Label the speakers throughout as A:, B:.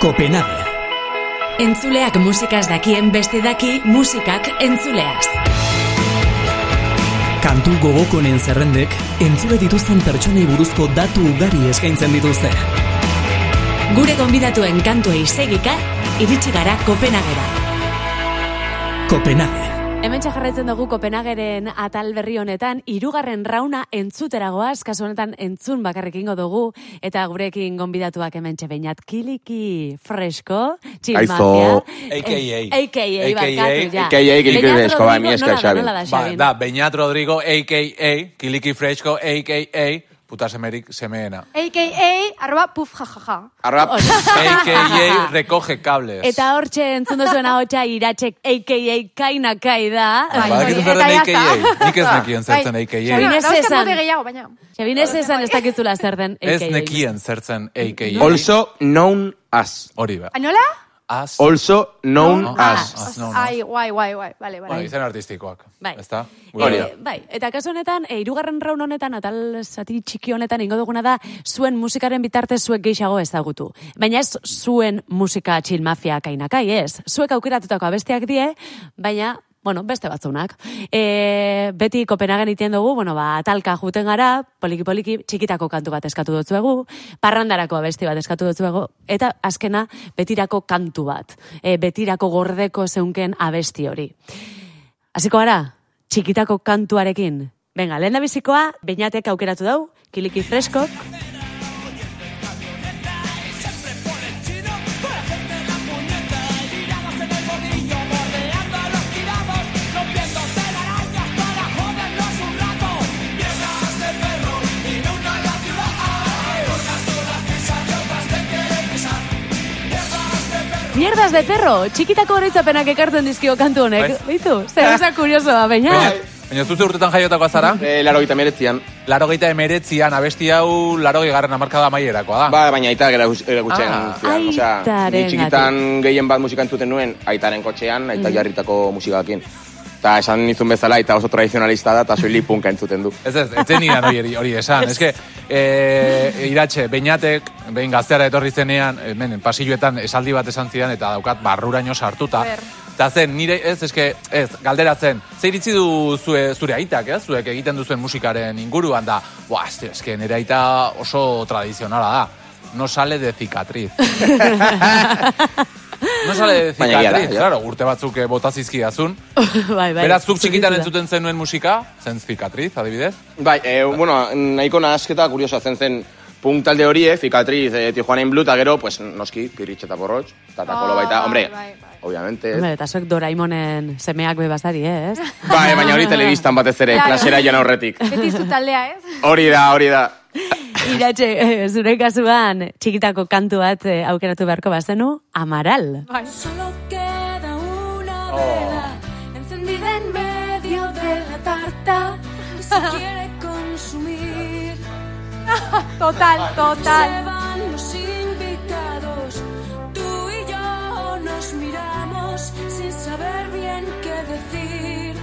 A: Copenhague.
B: Entzuleak musikaz dakien beste daki musikak entzuleaz.
A: Kantu gogokonen zerrendek entzule dituzten pertsonei buruzko datu ugari eskaintzen dituzte.
B: Gure gonbidatuen kantuei segika iritsi gara Kopenhagera.
A: Copenhague.
C: Hemen jarraitzen dugu Kopenhageren atal berri honetan, hirugarren rauna entzutera goaz, kasu honetan entzun bakarrekingo dugu, eta gurekin gonbidatuak hemen txebeinat kiliki fresko, txilmagia.
D: Aizo.
E: AKA.
C: Eh, AKA, barkatu, ja.
D: AKA, kiliki
C: Beñat
D: fresko, ba, mi
C: Rodrigo,
D: esker,
C: nola da,
D: Xabi.
C: nola da,
E: Ba,
C: Xabi?
E: da, Beñat Rodrigo, a.k.a. Kiliki Freixko, a.k.a. Puta semerik semeena.
F: AKA, arroba puf jajaja.
D: Arrap.
E: A.k.a. recoge cables.
C: Eta hortxe entzun duzuen ahotsa iratzek AKA kainakai da.
F: Bai.
E: Badakizu Ba, zer
F: Eta
E: den
F: ya
E: AKA.
F: está.
E: Nik ez nekien zertzen
F: Bai.
E: AKA.
C: Xabi,
F: Bueno,
C: ez
F: dauzkat
C: esan.
F: mote gehiago, baina.
C: Xabin ez esan ez dakizula zer den AKA.
E: Ez nekien zertzen AKA.
C: Mm-hmm.
D: Also known as.
E: Hori ba.
F: Anola?
E: Az.
D: Also known
F: Known
D: as.
E: as. Ah, No, no.
F: Ai, guai, guai, guai. Vale,
E: Bueno,
F: vale.
E: ba, izen artistikoak.
C: Bai.
E: Ezta?
D: Hori da.
C: Eh, bai, eta kasu honetan, eh, hirugarren raun honetan, atal zati txiki honetan ingo duguna da, zuen musikaren bitartez zuek gehiago ezagutu. Baina ez zuen musika txil mafia kainakai, ez. Zuek aukeratutako abestiak die, baina Bueno, beste batzunak. E, beti Kopenhagen iten dugu, bueno, ba, atalka juten gara, poliki-poliki, txikitako kantu bat eskatu dutzuegu, parrandarako abesti bat eskatu dutzuegu, eta azkena betirako kantu bat, e, betirako gordeko zeunken abesti hori. Hasiko gara, txikitako kantuarekin. Venga, lehen da bizikoa, beinatek aukeratu dau, kiliki freskok. Mierdas de perro, txikitako horitzapenak ekartzen dizkio kantu honek.
E: Bai.
C: Bitu, zer esan kuriosoa, baina.
E: Baina zuzte urtetan jaiotakoa zara?
C: Bai.
D: Eh, laro gita meretzian.
E: Laro gehieta emeretzian, abesti hau laro gehiagaren amarkada maierakoa
F: Ah.
E: da.
D: Ba, baina aita gara gutxean.
E: Ah.
D: zidan, osea,
C: Aitarengatik.
D: ni txikitan gehien bat musika entzuten nuen, aitaren kotxean,
F: Mm.
D: aita jarritako musikakin. Eta esan nizun bezala, aita oso tradizionalista da, eta soili punka entzuten du.
E: Ez ez, etzen nidan hori, hori esan. Ez que, e, iratxe, beinatek, behin gazteara etorri zenean, eh, hemen, pasilloetan esaldi bat esan zidan, eta daukat barruraino sartuta.
F: Ber.
E: Eta zen, nire, ez, eske, ez, galdera zen, ze iritzi du zue, zure aitak, ez, zuek egiten duzuen musikaren inguruan, da, buah, eske, eske nire aita oso tradizionala da. No sale de cicatriz. no sale de
D: Baina egia da,
E: cicatriz,
D: ja.
E: claro, urte batzuk eh, botazizkidazun.
C: bai, bai.
E: Beraz, zuk txikitan
C: zuritu da.
E: entzuten zenuen musika, zen cicatriz, adibidez?
D: Bai, e, bueno, nahiko nahasketa kuriosa zen zen punk talde horiek, Cicatriz, e, Tijuana in Blue, eta gero, pues, noski, Pirritx eta Borrotx, eta Takolo
F: Ah,
D: baita,
F: bai,
D: hombre,
F: bai, bai.
D: obviamente.
C: Hombre, Eta zuek Doraemonen semeak bebazari, eh, ez?
D: Bai, baina hori telebistan batez ere,
F: Claro.
D: klasera joan aurretik.
F: Beti zu taldea, ez?
D: Hori da, hori da.
C: Iratxe, eh, zure kasuan, txikitako kantu bat eh, aukeratu beharko bazenu, Amaral.
F: Bai.
G: Solo queda una vela encendida en medio de la tarta. Y se quiere consumir.
F: Total,
G: Se
F: total.
G: van los invitados. Tú y yo nos miramos sin saber bien qué decir.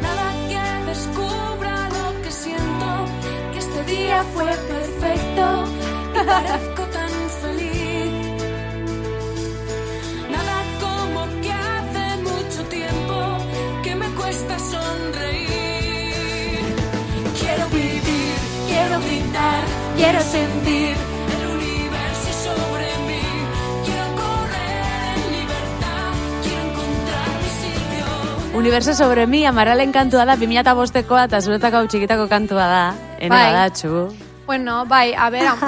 G: Nada que descubra lo que siento. Que este día fue perfecto y parezco tan feliz. Nada como que hace mucho tiempo que me cuesta sonreír. Quiero vivir, quiero gritar, quiero sentir el universo sobre mí. Quiero correr en libertad, quiero encontrar mi sitio.
C: Universo sobre mi, Amaralen kantua da, 2005koa eta zuretako hau txikitako kantua da. Ene
F: Bai.
C: badatxu.
F: Bueno, bai, a ber, am-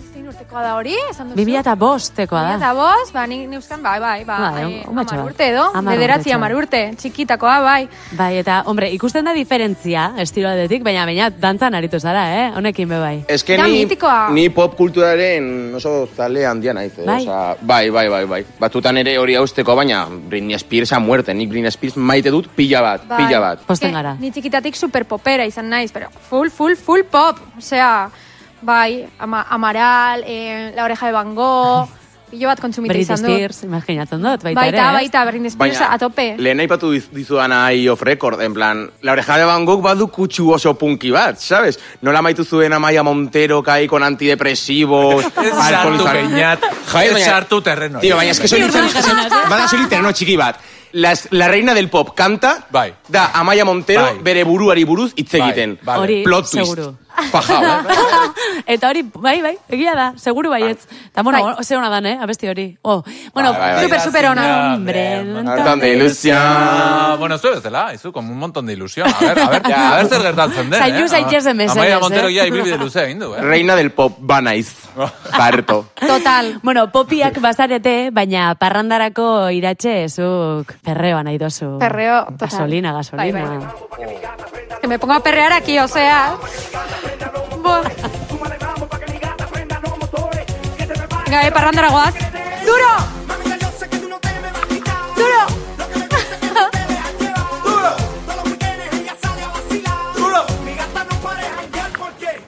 F: zein urtekoa da hori? Esan duzu?
C: 2005koa da.
F: Eta bost, ba, nik neuzkan, bai, bai, bai,
C: Bai,
F: bai,
C: un- un batxo
F: amar
C: bat.
F: urte edo,
C: Hamar
F: bederatzi
C: urtetxo.
F: amar urte, txikitakoa, bai.
C: Bai, eta, hombre, ikusten da diferentzia estilo aldetik, baina baina dantzan aritu zara, eh? Honekin be bai.
D: Ez que
F: Da
D: ni,
F: mitikoa.
D: ni pop kulturaren oso zale handia naiz. eh,
C: Bai.
D: osea, bai, bai, bai, bai. Batutan ere hori hausteko, baina Britney Spears a muerte. Nik Britney Spears maite dut pila bat,
F: Bai.
D: pila bat.
C: Posten
F: Ke
C: gara.
F: Ni txikitatik superpopera izan naiz, pero full, full, full pop. Osea, bai, ama, Amaral, eh, La Oreja de Van Gogh, Pilo bat kontsumita
C: Britney
F: izan du.
C: Spears, imaginatzen dut, baita, ere. eh?
F: Baita,
C: ez?
F: baita, Britney Spears a tope.
D: lehen aipatu diz- dizudana ahí off record, en plan, la oreja de Van Gogh badu kutsu oso punki bat, ¿sabes? Nola amaitu zuen Amaia Montero kai con antidepresivos,
E: Ez sartu
D: alkoholizan-
E: peinat,
D: Jai,
E: Bai, ez
D: baina-
E: sartu terreno.
D: Tío, baina eske soilik bada soilik terreno txiki bat. Las, la reina del pop kanta,
E: Bai.
D: da Amaia Montero
E: Bai.
D: bere buruari buruz hitz
E: Bai,
D: egiten.
E: vale.
C: Hori,
D: Plot twist.
C: seguru.
D: Fajao, eh?
C: Eta hori, bai, bai, egia da, seguru baietz. Eta, bueno,
F: Bai.
C: ze hona dan, eh, abesti hori. Oh, bueno,
D: Bai, bai, bai.
C: super, super
E: Gracias,
C: ona. Hombre,
E: hombre,
D: Hartan de ilusión.
E: Ah, bueno, zu bezala, izu, como un montón de ilusión. A ber, a ber,
D: Ja.
E: a ber zer gertatzen den,
C: Zaildu zaitezten mesedez,
E: Amaia
C: eh?
E: Montero ja ibilbide luzea egin du, eh?
D: Reina del pop banaiz. Barto.
F: Total.
C: Bueno, popiak bazarete, baina parrandarako iratxe zuk perreoa nahi dozu.
F: Perreo, total.
C: Gasolina, gasolina.
F: Bai, bai. Que me pongo a perrear aquí, o sea. Bo. Gabe parrandara goaz. Duro! Duro!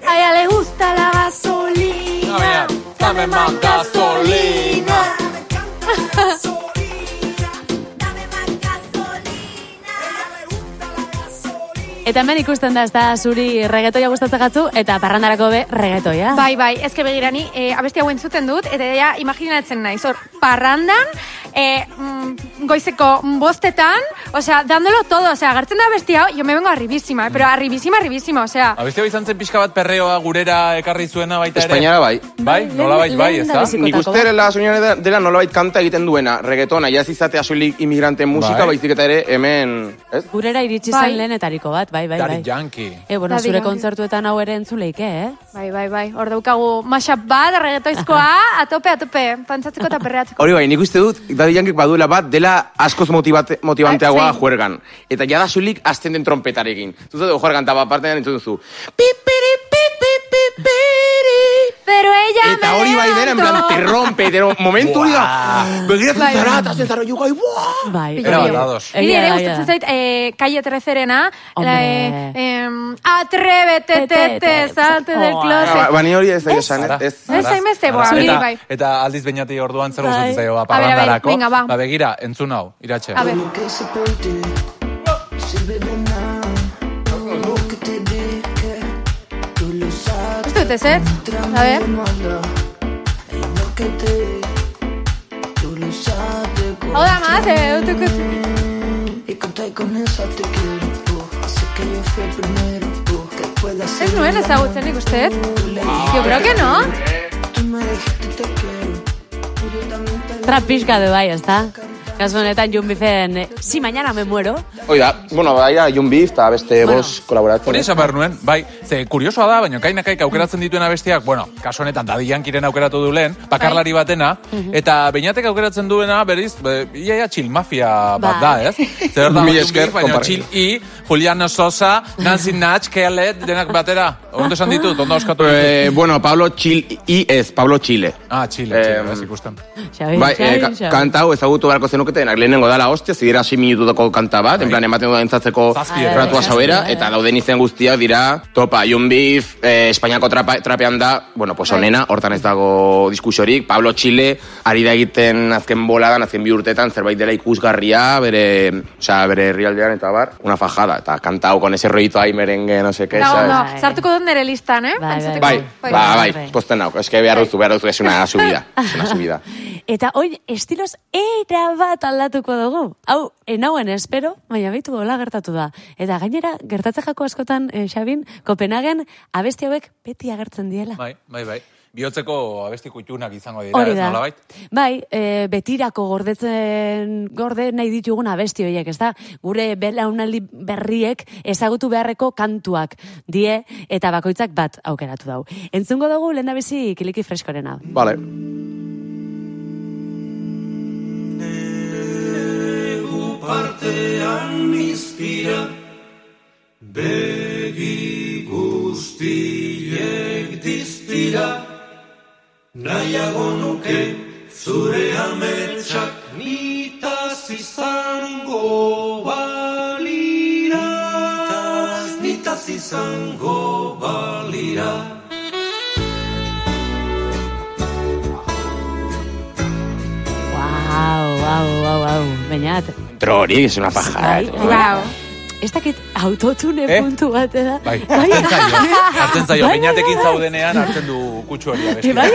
F: A ella le gusta la gasolina.
E: Dame más gasolina.
C: Eta hemen ikusten da, ez da, zuri regetoia gustatzen gatzu, eta parrandarako be regetoia.
F: Bai, bai, ez que begirani, eh, abesti hau entzuten dut, eta ja imaginatzen naiz, hor, parrandan, eh, mm, goizeko bostetan, osea, dándolo todo, osea, agertzen da abesti hau, yo me vengo arribísima, eh, pero arribísima, arribísima, osea,
E: Abestia bizan zen pixka bat perreoa gurera ekarri zuena baita ere.
D: Espainiara bai.
E: Bai, nola bai, bai, ez da?
C: Bizikotako
D: Nik uste la soñare dela nolabait kanta egiten duena, reggaetona, jaz izatea soilik imigranten musika,
E: Bai.
D: baizik eta ere hemen, ez?
C: Gurera iritsi zen
F: Bai.
C: lehenetariko bat, bai, bai,
E: Dari
C: bai.
E: Yankee.
C: E, bueno,
F: Daddy
C: zure
F: Yankee.
C: kontzertuetan hau ere entzuleike, eh?
F: bai, bai, bai, hor daukagu mashup bat, reggaetoizkoa, atope, atope, pantzatzeko eta perreatzeko.
D: Hori bai, nik uste dut, Daddy Yankee baduela bat dela askoz motibate, motivanteagoa
F: Bai, sí.
D: juergan. Eta jada zulik azten den trompetarekin. Zuzat, juergan, eta bat partean entzun duzu. Pipiri, pipi, pipiri.
F: Pero ella
D: Eta
F: me
D: hori bai dena, en plan,
F: levantó.
D: te rompe, te rompe. Momentu hori da, begiratu
F: Bai,
D: zara,
F: bai.
D: eta zara, jugu, ai, buah!
C: Bai,
E: Era
C: bai.
E: bat ados.
F: Niri
C: Egia
F: ere
C: da,
F: gustatzen
C: egia da.
F: zait, eh, Calle 13-rena,
C: Hombre.
F: eh, em, atrebete,
C: Te, te,
F: tete,
C: te,
F: salte del
C: oh,
F: closet.
D: Bani Ba, hori ez da esan,
E: Ara,
D: ez?
E: ara,
F: Ah, Ez hainbeste,
E: ara,
F: boa,
E: eta-
F: zuri bai.
E: Eta aldiz bainati orduan zer
C: Bai.
E: gustatzen zaio ba,
F: A ber, a ber,
E: parrandarako.
F: venga, ba.
E: Ba, begira, entzun hau, iratxe.
F: A ver. Ez dut ez, ez? A ver. Hau da más, eh, dut dut- Ez nuen ezagutzen nik uste, Yo creo que no.
C: Trapisca de bai, ez da? Kasu honetan, Jun Bifen, eh, si mañana me muero,
D: Hoi da, bueno, bai da, Jun Beef eta beste
C: Bueno.
D: boz kolaboratzen.
E: Hori esan behar nuen, bai, ze kuriosoa da, baina kainakaik aukeratzen dituen abestiak, bueno, kaso honetan Daddy Yankeeren aukeratu du lehen, bakarlari
C: Bai.
E: batena,
C: Mhm.
E: eta beinatek aukeratzen duena, berriz, be, ia ia chill mafia
C: Bai.
E: bat da, ez? Zer da,
D: Mila
E: Jun
D: esker,
E: Beef, baina
D: konpartitu.
E: chill i, Juliano Sosa, Nancy Natch, Kealet, denak batera, ondo esan ditut, ondo oskatu ditut.
D: Eh, bueno, Pablo Chil, i ez, Pablo Chile.
E: Ah, Chile,
D: Em,
E: Chile, ez ikusten.
C: Xabi,
D: Bai, eh,
C: Xabi,
D: ka-
C: Xabi.
D: kanta hau ezagutu beharko zenuketenak lehenengo dala hostia, zidira 6 minututako kanta bat, en plan ematen dudan entzatzeko
E: Zazpi edo.
D: ratua
C: Zazpi,
D: sabera,
C: bai,
D: eta dauden izen guztiak dira, topa, Jun Beef, eh, Espainiako trapa, trapean da, bueno, pues
C: Bai.
D: onena, hortan ez dago diskusiorik, Pablo Chile, ari da egiten azken boladan, azken bi urtetan, zerbait dela ikusgarria, bere, osea, bere herrialdean eta bar, una fajada, eta kanta hau con ese rollito ahí merengue, no sé qué,
F: Dago,
D: ¿sabes?
F: no, sartuko dut nere listan, eh?
C: Bai,
F: Antzuteko.
D: Bai,
C: Bai,
D: bai,
C: bai,
D: bai,
C: bai.
D: posten nau, eske behar duzu, behar duzu, es una subida, es una subida.
C: Eta oin, estiloz erabat aldatuko dugu. Hau, enauen espero, baina bitu hola gertatu da. Eta gainera, gertatzen jako askotan, eh, Xabin, Kopenhagen, abesti hauek beti agertzen diela.
E: Bai, bai, bai. Bihotzeko abestiko itunak izango dira,
C: Hori
E: ez
C: da.
E: nolabait?
C: Bai, e, betirako gordetzen gorde nahi ditugun abesti horiek, ez da? Gure belaunaldi berriek ezagutu beharreko kantuak die eta bakoitzak bat aukeratu dau. Entzungo dugu lenda bizi kiliki freskorena.
D: Vale.
H: Nitaz izango balira
C: baina...
D: Intro hori, es una paja.
C: Bai,
D: eh.
F: Wow.
C: Ez dakit autotune
E: Eh?
C: puntu bat da.
E: Bai, hartzen zaio, eh? hartzen zaio,
C: Bai, bai,
E: beñatekin
C: bai.
E: zaudenean hartzen du kutsu hori abesti.
C: Bai,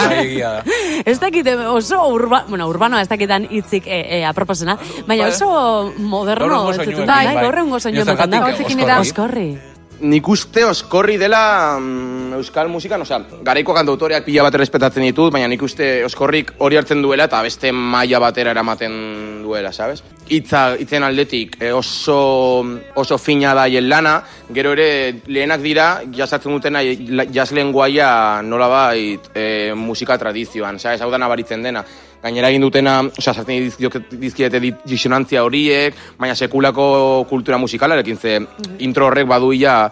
E: Bai, egia da.
C: Ez dakit eh, oso urba, bueno, urbanoa ez dakitan hitzik e, e, aproposena, baina
E: Bai.
C: oso moderno.
E: Gaur egungo
C: entzuten
E: soinuekin,
C: da,
E: bai.
C: Gaur egungo soinu
E: Baina
C: ematen da.
E: zergatik,
F: Hortzekin oskorri? edan-
C: Oskorri.
D: Nik uste oskorri dela mm, euskal musikan, osea, garaiko kantautoreak pila bat errespetatzen ditut, baina nik uste oskorrik hori hartzen duela eta beste maila batera eramaten duela, sabes? Itza, itzen aldetik eh, oso, oso fina da haien lana, gero ere lehenak dira jasatzen dutena la- jazz lenguaia nola bait eh, musika tradizioan, sabes? Hau da nabaritzen dena. Gainera egin dutena, osea, sartzen dizkioke- dizkiete di- disonantzia horiek, baina sekulako kultura musikalarekin ze intro horrek baduia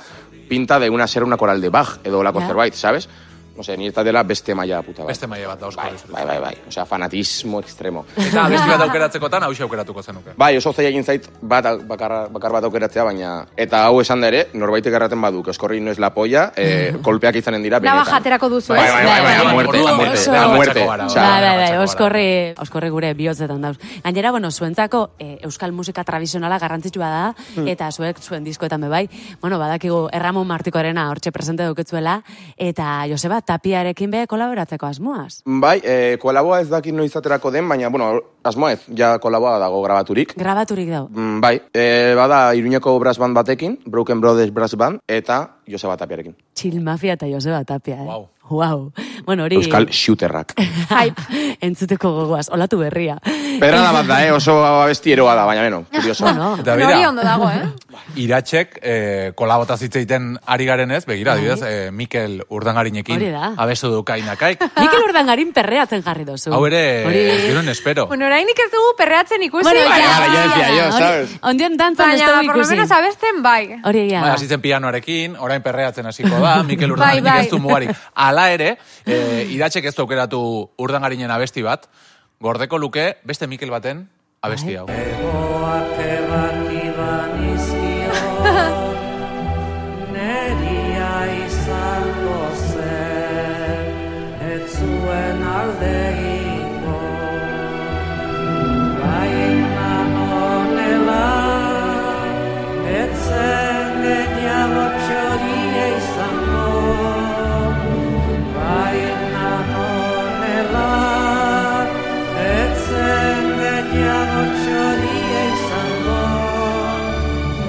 D: pinta de una ser una coral de Bach edo lako
C: Ja.
D: zerbait, sabes? No sé, ni esta dela beste maila puta bat.
E: Beste maila bat da
D: bai,
E: Oscar Isuri.
D: bai, bai, bai. Osea, fanatismo extremo.
E: Eta abesti bat aukeratzekotan hau aukeratuko zenuke.
D: Bai, oso zaila egin zait bat, bakar, bakar bat aukeratzea, baina... Eta hau esan da ere, norbaitek erraten baduk, eskorri no es la polla, eh, kolpeak izanen dira benetan.
F: Nabaja aterako duzu,
D: Bai,
F: ez?
D: bai, bai, bai, a muerte, a
E: Orduan
D: muerte,
C: oso-
D: a muerte.
E: Bai,
D: Osea,
C: Bai, bai, bai,
E: batxako gara.
C: oskorri, oskorri gure bihotzetan dauz. Gainera, bueno, zuentzako eh, euskal musika tradizionala garrantzitsua da, eta zuek zuen diskoetan be bai, bueno, badakigu Erramon Martikorena hortxe presente dukezuela, eta Joseba Tapiarekin be kolaboratzeko asmoaz.
D: Bai, e, kolaboa ez dakit noiz aterako den, baina, bueno, asmoa ez, ja kolaboa dago grabaturik.
C: Grabaturik dau.
D: Mm, bai, e, bada Iruñeko brass band batekin, Broken Brothers brass band, eta Joseba Tapiarekin.
C: Chill Mafia eta Joseba Tapia, eh?
E: Guau.
C: Guau. Bueno, hori...
D: Euskal shooterrak.
C: Entzuteko gogoaz, olatu berria.
D: Pedrada bat da, eh? oso abesti eroa da, baina beno, kurioso.
C: Bueno,
E: Eta
F: Hori
E: bera,
F: ondo dago, eh?
E: Iratxek eh, kolabotaz hitz egiten ari garen ez, begira,
C: Bai.
E: adibidez, eh, Mikel Urdangarinekin
C: Hori da.
E: abestu du kainakaik.
C: Mikel Urdangarin perreatzen jarri dozu.
E: Hau ere,
C: Hori-
E: ez dirun espero.
F: Bueno, orainik ez dugu perreatzen ikusi,
C: Bueno,
F: baina-
D: ya, ya decía yo, ¿sabes?
C: Hori- Ondion dantzan ez
F: baina,
C: dugu
F: por lo menos
C: ikusi.
F: abesten bai.
C: Hori egia
E: Bai,
C: da.
E: hasi zen pianoarekin, orain perreatzen hasiko da, Mikel
F: Bai,
E: Urdangarin
F: bai.
E: ez du mugarik. Hala ere, eh, iratxek ez du aukeratu Urdangarinen abesti bat, gordeko luke beste Mikel baten
C: Bai.
E: abesti hau.
C: Eh,
H: Egoak ebaki banizkion, neria izango zen, ez zuen aldegiko. Baina honela, ez zen gehiago txoria izango, Baina honela, etzen gehiago txoria izango,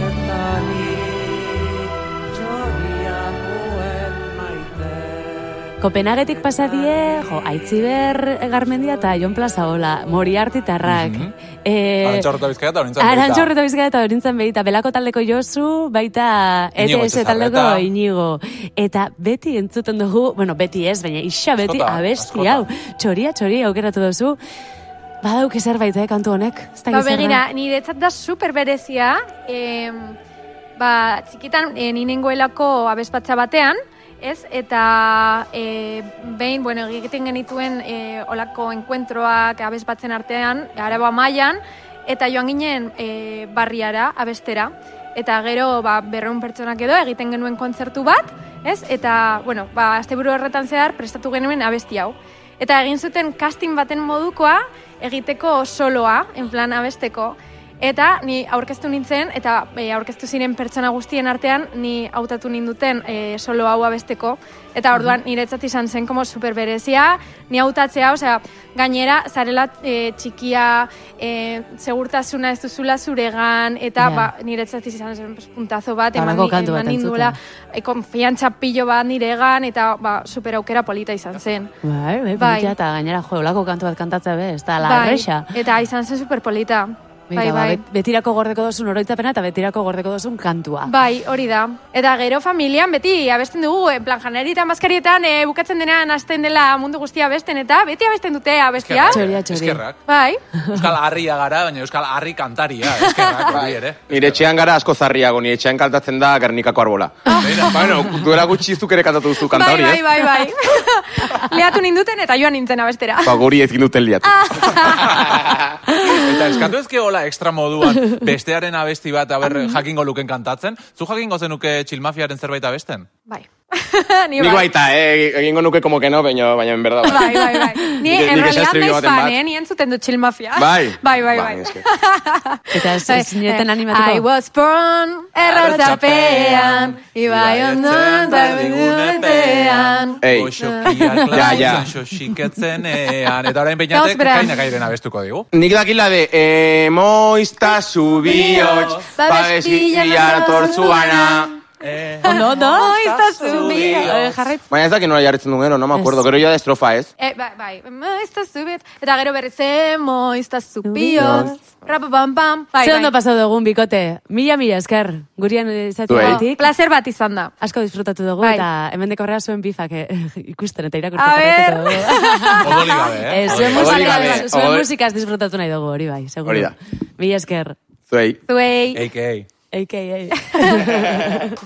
H: eta ni txoria nuen maite.
C: Kopenhagetik pasadie, jo, Aitziber Garmendia eta Jon Plazaola, Moriartitarrak. Mm
E: Mhm. Arantxa Horreta Bizkaia eta Orintza
C: Arantxa horreto bizka eta horintzen behita, belako taldeko Josu, baita
E: Iñigo
C: ETS taldeko
E: Etxezarreta.
C: inigo. Eta beti entzuten dugu, bueno, beti ez, baina isa beti
E: Askotan,
C: abesti
E: askotan.
C: hau. Txoria, txoria aukeratu duzu. Badauk zerbait, eh, kantu honek? Ez dakit
F: Ba,
C: zer den.
F: begira, niretzat da super berezia, em, ba, txikitan e, ni nengoelako abespatza batean, ez? Eta e, behin, bueno, egiten genituen e, olako enkuentroak abespatzen artean, araba mailan, eta joan ginen e, barriara, abestera. Eta gero, ba, berreun pertsonak edo egiten genuen kontzertu bat, ez? Eta, bueno, ba, asteburu horretan zehar prestatu genuen abesti hau. Eta egin zuten casting baten modukoa egiteko soloa, en plan abesteko. Eta ni aurkeztu nintzen, eta e, aurkeztu ziren pertsona guztien artean, ni hautatu ninduten e, solo hau abesteko. Eta orduan niretzat izan zen como superberezia, ni hautatzea, osea, gainera zarela e, txikia, e, segurtasuna ez duzula zuregan, eta
C: Ja.
F: ba, niretzat izan zen pues, puntazo bat, eman,
C: Halako
F: ni-
C: kantu bat
F: eman nindula,
C: entzutea.
F: e, konfiantza pilo bat niregan, eta ba, super aukera polita izan zen.
C: Bai, bai,
F: Bai.
C: polita eta gainera jo, olako kantu bat kantatzea be, ez da la
F: Bai,
C: erresa.
F: Eta izan zen superpolita. Bai,
C: Begira, ba,
F: bai.
C: bet- betirako gordeko dozun oroitzapena eta betirako gordeko dozun kantua.
F: Bai, hori da. Eta gero familian beti abesten dugu, en plan janarietan, maskarietan, eh, bukatzen denean hasten dela mundu guztia abesten, eta beti abesten dute abestia.
E: Eskerrak,
C: Txoria, txoria.
E: eskerrak.
F: Bai,
E: Euskal harria gara, baina Euskal harri kantaria, eskerrak hori ere.
D: Bai. Nire etxean gara asko zarriago, nire etxean kaltatzen da Gernikako arbola. Ba, bueno, duela gutxi zuk ere kantatu duzu kanta
F: bai,
D: hori, eh?
F: bai,
D: ez?
F: bai, bai. Leatu ninduten eta joan nintzen abestera.
D: Ba, guri ezin duten liatu.
F: Ah.
E: Eta eskatu ezke hola extra moduan
D: Ba.
E: bestearen abesti bat aber jakingo luken kantatzen. Zu jakingo zenuke txilmafiaren zerbait abesten?
F: Bai. Ni
D: Nik baita, eh, egingo nuke como que no, baina, baina en berda. bai.
F: Bai, bai, bai. Ni,
D: Nik- nik
F: en realidad,
D: esastribo
F: naiz
D: baten
F: fan,
D: bat.
F: eh? Ni entzuten dut chill mafia.
D: Bai.
F: Bai, bai,
D: Bai,
F: bai.
D: eske.
C: Eta
F: eh,
C: ez- ez nieten animatuko?
F: I was born errotzapean, ibai ondoan tabegunepean.
D: Ei.
E: Ja,
D: Ja, ja.
E: Eta orain
F: Gauz
E: peinatek
F: bera.
E: kaina kairena bestuko digu.
D: Nik dakila de eh, moizta zu bihotz, babes bilar tortzuana.
C: Ondo, ondo.
F: Moiztas zubi.
C: Eh, jarrai.
D: Baina ez dakit nola jarritzen duen gero, no me acuerdo. Gero ya de estrofa, ez?
F: Eh, bai, bai, moiztas zubi. Eta gero berriz, eh, moiztas zubiot. Rapa pam pam. Bai,
C: Ze ondo
F: bai.
C: pasau dugun bikote. Mila, mila esker. Gurian izatea
D: Zuei.
C: gaitik.
F: Placer bat izan da.
C: Asko disfrutatu dugu
F: Bai.
C: eta hemen dekorrea zuen bifak eh, ikusten eta irakurtzen
F: A ver.
C: jarraituko dugu.
E: Odoli gabe, eh?
C: Eh, zuen
D: Odoli gabe,
C: musikaz, zuen
D: odoli-
C: musikaz disfrutatu nahi dugu, hori bai, seguro.
D: Hori da.
C: Mila esker.
E: Eh,
D: Zuei.
F: Zuei.
E: Eik, eik.
C: AKA.